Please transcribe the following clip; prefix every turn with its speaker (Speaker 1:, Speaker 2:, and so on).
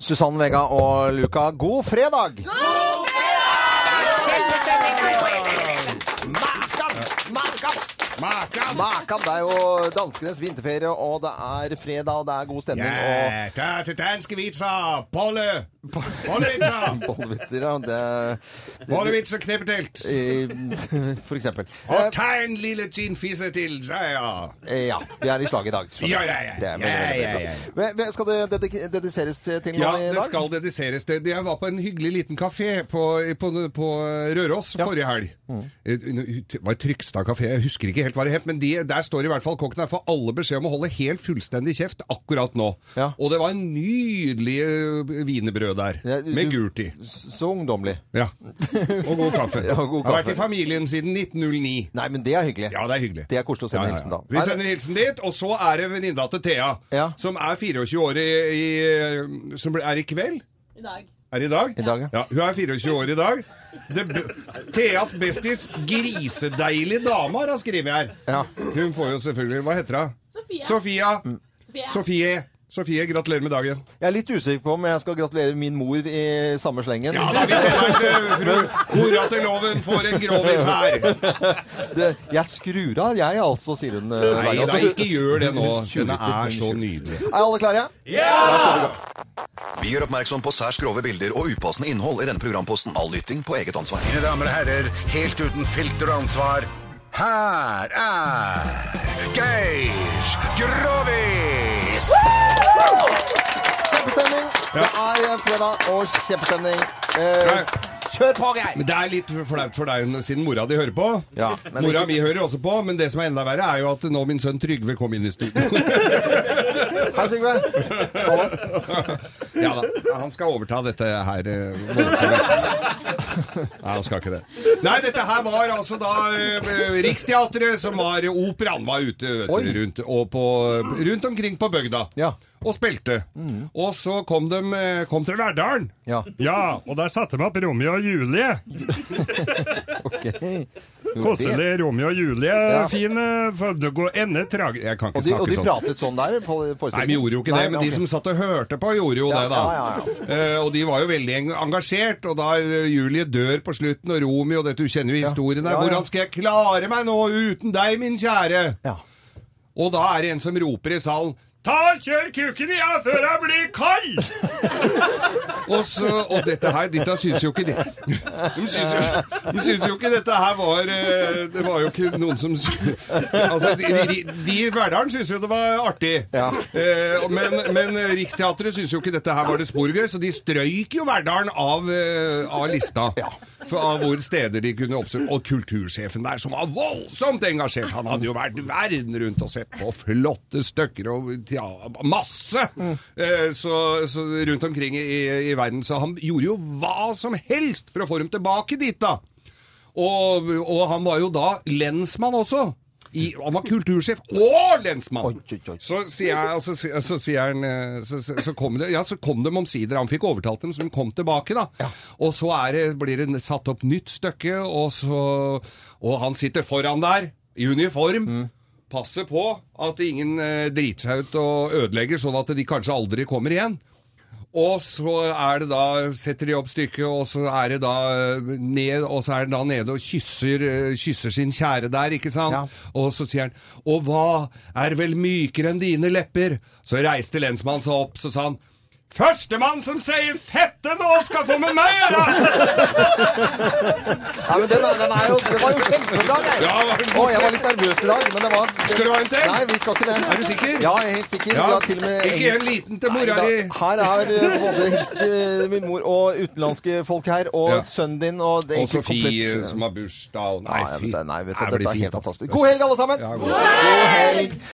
Speaker 1: Susann Vega og Luca, god fredag!
Speaker 2: Makan!
Speaker 1: Makan, det er jo danskenes vinterferie, og det er fredag, og det er god stemning. og
Speaker 2: Ja, ta til danske vitser! Bolle! Bollevitser!
Speaker 1: Bollevitser, ja. Det,
Speaker 2: Bollevitser kneppedelt!
Speaker 1: i- for eksempel.
Speaker 2: Og ta en lille ginfisse til seier!
Speaker 1: Eh, ja, vi er i slag i dag. skjønner
Speaker 2: Ja,
Speaker 1: du.
Speaker 2: ja, ja.
Speaker 1: Det er veldig,
Speaker 2: Ja,
Speaker 1: veldig,
Speaker 2: ja,
Speaker 1: veldig
Speaker 2: ja,
Speaker 1: bra. Men- men Skal det dedik- dediseres til noe
Speaker 2: Ja,
Speaker 1: i dag?
Speaker 2: det skal dediseres. Det- Jeg var på en hyggelig liten kafé på, på, på Røros forrige helg.
Speaker 1: Mm.
Speaker 2: Eh, Det var Trykstad kafé, jeg husker ikke helt hva det het, men de, der står i hvert fall kokken her for alle beskjed om å holde helt fullstendig kjeft akkurat nå.
Speaker 1: Ja.
Speaker 2: Og det var en nydelig ø, wienerbrød der,
Speaker 1: Ja, du-
Speaker 2: med
Speaker 1: du-
Speaker 2: gult i.
Speaker 1: Så ungdommelig.
Speaker 2: Ja. Og god kaffe.
Speaker 1: Ja, og god
Speaker 2: Har vært
Speaker 1: kaffe.
Speaker 2: i familien siden 1909.
Speaker 1: Nei, men det er hyggelig.
Speaker 2: Ja, det er hyggelig.
Speaker 1: Det er koselig å sende
Speaker 2: Ja, ja, ja.
Speaker 1: hilsen, da.
Speaker 2: Vi
Speaker 1: Er det-
Speaker 2: sender hilsen dit, og så er det venninna til Thea,
Speaker 1: Ja.
Speaker 2: som er 24 år i, i Som ble- er i kveld?
Speaker 3: I dag.
Speaker 2: Er det i dag?
Speaker 1: I dag, ja.
Speaker 2: ja. Hun er 24 år i dag. Det, b- Theas bestis, grisedeilig dame, har hun skrevet her.
Speaker 1: Ja.
Speaker 2: Hun får jo selvfølgelig Hva heter hun?
Speaker 3: Sofia.
Speaker 2: Sofia.
Speaker 3: Sofie.
Speaker 2: Sofie. Sofie, gratulerer med dagen.
Speaker 1: Jeg er litt usikker på om jeg skal gratulere min mor i samme slengen.
Speaker 2: Ja da, vi sender til Eh, fru Hora til loven får en grovis her.
Speaker 1: det, jeg skrur av, jeg altså, sier hun. eh,
Speaker 2: Nei
Speaker 1: hver gang.
Speaker 2: da, ikke gjør det nå.
Speaker 1: Hun
Speaker 2: Denne
Speaker 1: tjuvlytter,
Speaker 2: er så
Speaker 1: hun tjuvlytter.
Speaker 2: nydelig.
Speaker 1: Er alle klare?
Speaker 4: Vi gjør oppmerksom på særs grove bilder og upassende innhold i denne programposten. All lytting på eget ansvar.
Speaker 5: Mine damer og herrer, helt uten filter og ansvar, her er Geir Grovis!
Speaker 1: Kjempestemning! Det er eh, fredag og kjempestemning. Eh,
Speaker 2: Nei.
Speaker 1: kjør på, Geir!
Speaker 2: Men Det er litt flaut for deg siden mora di hører på.
Speaker 1: Ja, men
Speaker 2: mora
Speaker 1: ikke-
Speaker 2: mi hører også på, men det som er enda verre, er jo at nå min sønn Trygve kom inn i studio.
Speaker 1: Hei, Trygve. Hallo.
Speaker 2: ja da, Han skal overta dette her eh, voldsomme Nei, han skal ikke det. Nei, dette her var altså da eh, Riksteatret, som var operaen, var ute vet du,
Speaker 1: Oi.
Speaker 2: rundt, og på, rundt omkring på bygda.
Speaker 1: Ja. Mm.
Speaker 2: Og spilte. Og så kom de eh, kom til Verdalen.
Speaker 1: Ja,
Speaker 6: Ja, og der satte de opp Romeo og Julie.
Speaker 1: ok. Jo, det-
Speaker 6: Koselig Romeo og Julie.
Speaker 1: Ja.
Speaker 6: Fin eh, for det går ende trag... Jeg kan
Speaker 1: Og
Speaker 2: Og
Speaker 1: de,
Speaker 2: de-
Speaker 1: og de
Speaker 2: snakke sånn.
Speaker 1: pratet sånn der på forestillingen?
Speaker 2: Nei, vi gjorde jo ikke det, men de som satt og hørte på, gjorde jo
Speaker 1: Ja,
Speaker 2: det, da.
Speaker 1: ja, ja,
Speaker 2: Eh, og de var jo veldig eng- engasjert, og da eh, Julie dør på slutten, og Romeo, dette, du kjenner jo historien der,
Speaker 1: Ja, ja.
Speaker 2: hvordan skal jeg klare meg nå uten deg, min kjære?
Speaker 1: ja.
Speaker 2: Og da er det en som roper i salen,
Speaker 6: Ta og kjør kuken i av før jeg blir kald!
Speaker 2: og, så, og dette her, dette synes jo ikke de. De synes jo, de synes jo ikke dette her var, eh, det var jo ikke noen som, sy- altså de, de, de i Verdalen synes jo det var artig,
Speaker 1: Ja.
Speaker 2: Eh, men, men Riksteatret synes jo ikke dette her var det sporgøy, så de strøyk jo Verdalen av, eh, av lista. For, av hvor steder de kunne oppsøke. Og kultursjefen der, som var voldsomt engasjert. Han hadde jo vært verden rundt og sett på flotte stykker og ja, masse eh, så, så rundt omkring i, i verden. Så han gjorde jo hva som helst for å få dem tilbake dit, da. Og, og han var jo da lensmann også. I, han var kultursjef OG lensmann!
Speaker 1: Oi, oi, oi.
Speaker 2: Så sier jeg, og så, sier- så sier han eh, så, så, så kom det, Ja, så kom de omsider. Han fikk overtalt dem, så de kom tilbake, da. Og så er det, blir det satt opp nytt stykke, og så Og han sitter foran der, i uniform.
Speaker 1: Mm.
Speaker 2: Passer på at ingen eh, driter seg ut og ødelegger, sånn at de kanskje aldri kommer igjen. Og så er det da, setter de opp stykket, og så er det da eh, ned, og så er det da nede og kysser, eh, kysser sin kjære der, ikke sant?
Speaker 1: Ja.
Speaker 2: Og så sier han, og hva er vel mykere enn dine lepper? Så reiste lensmannen seg opp, så sa han, Førstemann som sier fette nå skal få med meg, eller?
Speaker 1: Nei, men den, er- den er jo, det var jo kjempebra, Geir!
Speaker 2: Ja, det var
Speaker 1: Å, jeg var litt nervøs i dag, men det var
Speaker 2: Skal du ha en til?
Speaker 1: Nei, vi skal ikke det.
Speaker 2: Er du sikker?
Speaker 1: Ja, jeg er helt sikker.
Speaker 2: Ja.
Speaker 1: Vi har til og med
Speaker 2: Ikke en liten til mora
Speaker 1: Nei, da.
Speaker 2: di.
Speaker 1: Her er eh, både hilsen til eh, min mor og utenlandske folk her, og
Speaker 2: Ja.
Speaker 1: sønnen din og det er
Speaker 2: Og
Speaker 1: egentlig
Speaker 2: Sofie
Speaker 1: komplett-
Speaker 2: som har bursdag, og
Speaker 1: Nei,
Speaker 2: nei,
Speaker 1: jeg
Speaker 2: fy.
Speaker 1: vet det, nei, vet du,
Speaker 2: det
Speaker 1: dette
Speaker 2: blir
Speaker 1: er
Speaker 2: fint,
Speaker 1: helt
Speaker 2: altså.
Speaker 1: fantastisk. God helg, alle sammen!
Speaker 2: Ja, god
Speaker 1: God helg!